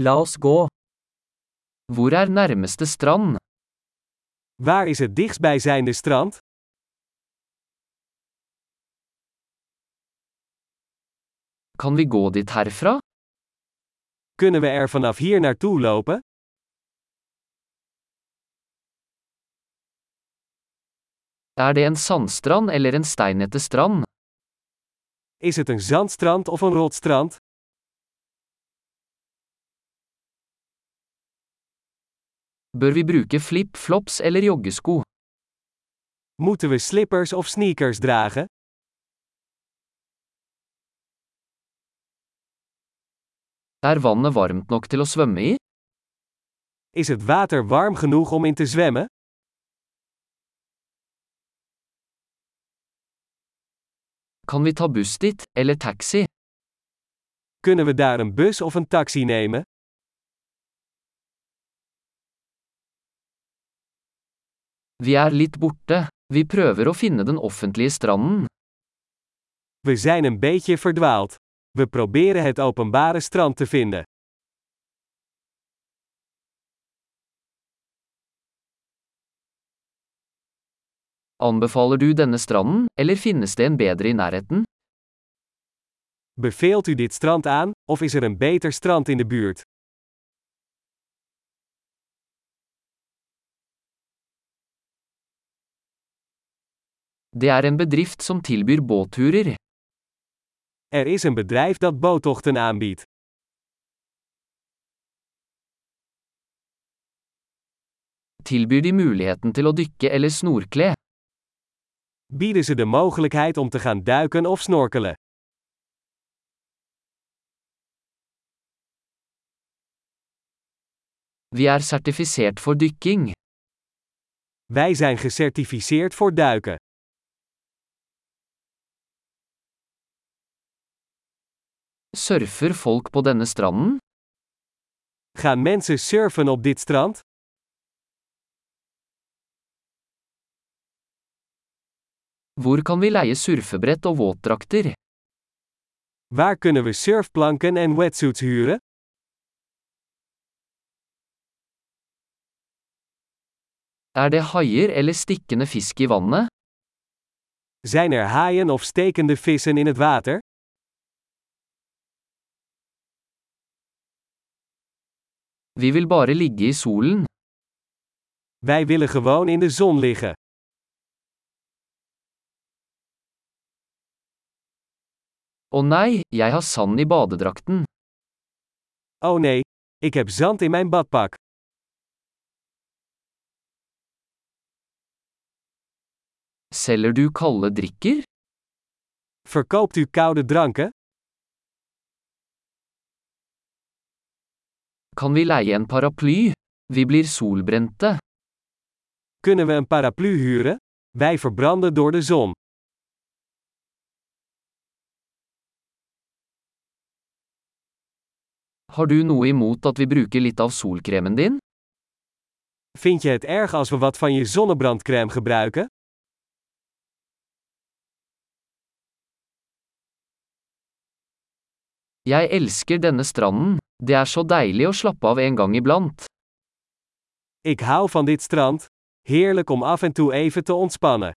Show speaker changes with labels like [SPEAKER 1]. [SPEAKER 1] La oss gå. Hvor er nærmeste strand?
[SPEAKER 2] Waar is het dichtstbijzijnde strand?
[SPEAKER 1] Kan vi gå dit herfra?
[SPEAKER 2] Kunnen we er vanaf hier naartoe lopen?
[SPEAKER 1] Er det en sandstrand eller en steinete strand?
[SPEAKER 2] Is het een zandstrand of een rotstrand?
[SPEAKER 1] Bør vi bruke flip-flops eller joggesko?
[SPEAKER 2] Moeten we slippers of sneakers dragen?
[SPEAKER 1] Er vannet varmt nok til å svømme i?
[SPEAKER 2] Is het water warm genoeg om in te zwemmen?
[SPEAKER 1] Kan vi ta buss dit, eller taxi?
[SPEAKER 2] Kunnen we daar een bus of een taxi nemen?
[SPEAKER 1] Vi er litt borte. Vi prøver å finne den offentlige stranden.
[SPEAKER 2] We zijn een beetje verdwaald. We proberen het openbare strand te vinden.
[SPEAKER 1] Anbefaler du denne stranden, eller finnes det en bedre i nærheten?
[SPEAKER 2] Beveelt u dit strand aan, of is er een beter strand in de buurt?
[SPEAKER 1] Det er en bedrift som tilbyr båtturer.
[SPEAKER 2] Er is een bedrijf dat boottochten aanbiedt.
[SPEAKER 1] Tilbyr de muligheten til å dykke eller snorkle?
[SPEAKER 2] Bieden ze de mogelijkheid om te gaan duiken of snorkelen?
[SPEAKER 1] Vi er sertifisert for dykking.
[SPEAKER 2] Wij zijn gecertificeerd voor duiken.
[SPEAKER 1] Surfer folk på denne stranden?
[SPEAKER 2] Gaan mensen surfen op dit strand?
[SPEAKER 1] Hvor kan vi leie surfebrett og våtdrakter?
[SPEAKER 2] Waar kunnen we surfplanken en wetsuits huren?
[SPEAKER 1] Er det haier eller stikkende fisk i vannet?
[SPEAKER 2] Zijn er haaien of stekende vissen in het water?
[SPEAKER 1] Vi vil bare ligge i solen.
[SPEAKER 2] Wij willen gewoon in de zon liggen.
[SPEAKER 1] Å nei, jeg har sand i badedrakten.
[SPEAKER 2] Oh nee, ik heb zand in mijn badpak.
[SPEAKER 1] Selger du kalde drikker?
[SPEAKER 2] Verkoopt u koude dranken?
[SPEAKER 1] Kan vi leie en paraply? Vi blir solbrente.
[SPEAKER 2] Kunnen we een paraplu huren? Wij verbranden door de zon.
[SPEAKER 1] Har du noe imot at vi bruker litt av solkremen din?
[SPEAKER 2] Vind je het erg als we wat van je zonnebrandcrème gebruiken?
[SPEAKER 1] Jeg elsker denne stranden. Det er så deilig å slappe av en gang iblant.
[SPEAKER 2] Ik hou van dit strand. Heerlijk om af en toe even te ontspannen.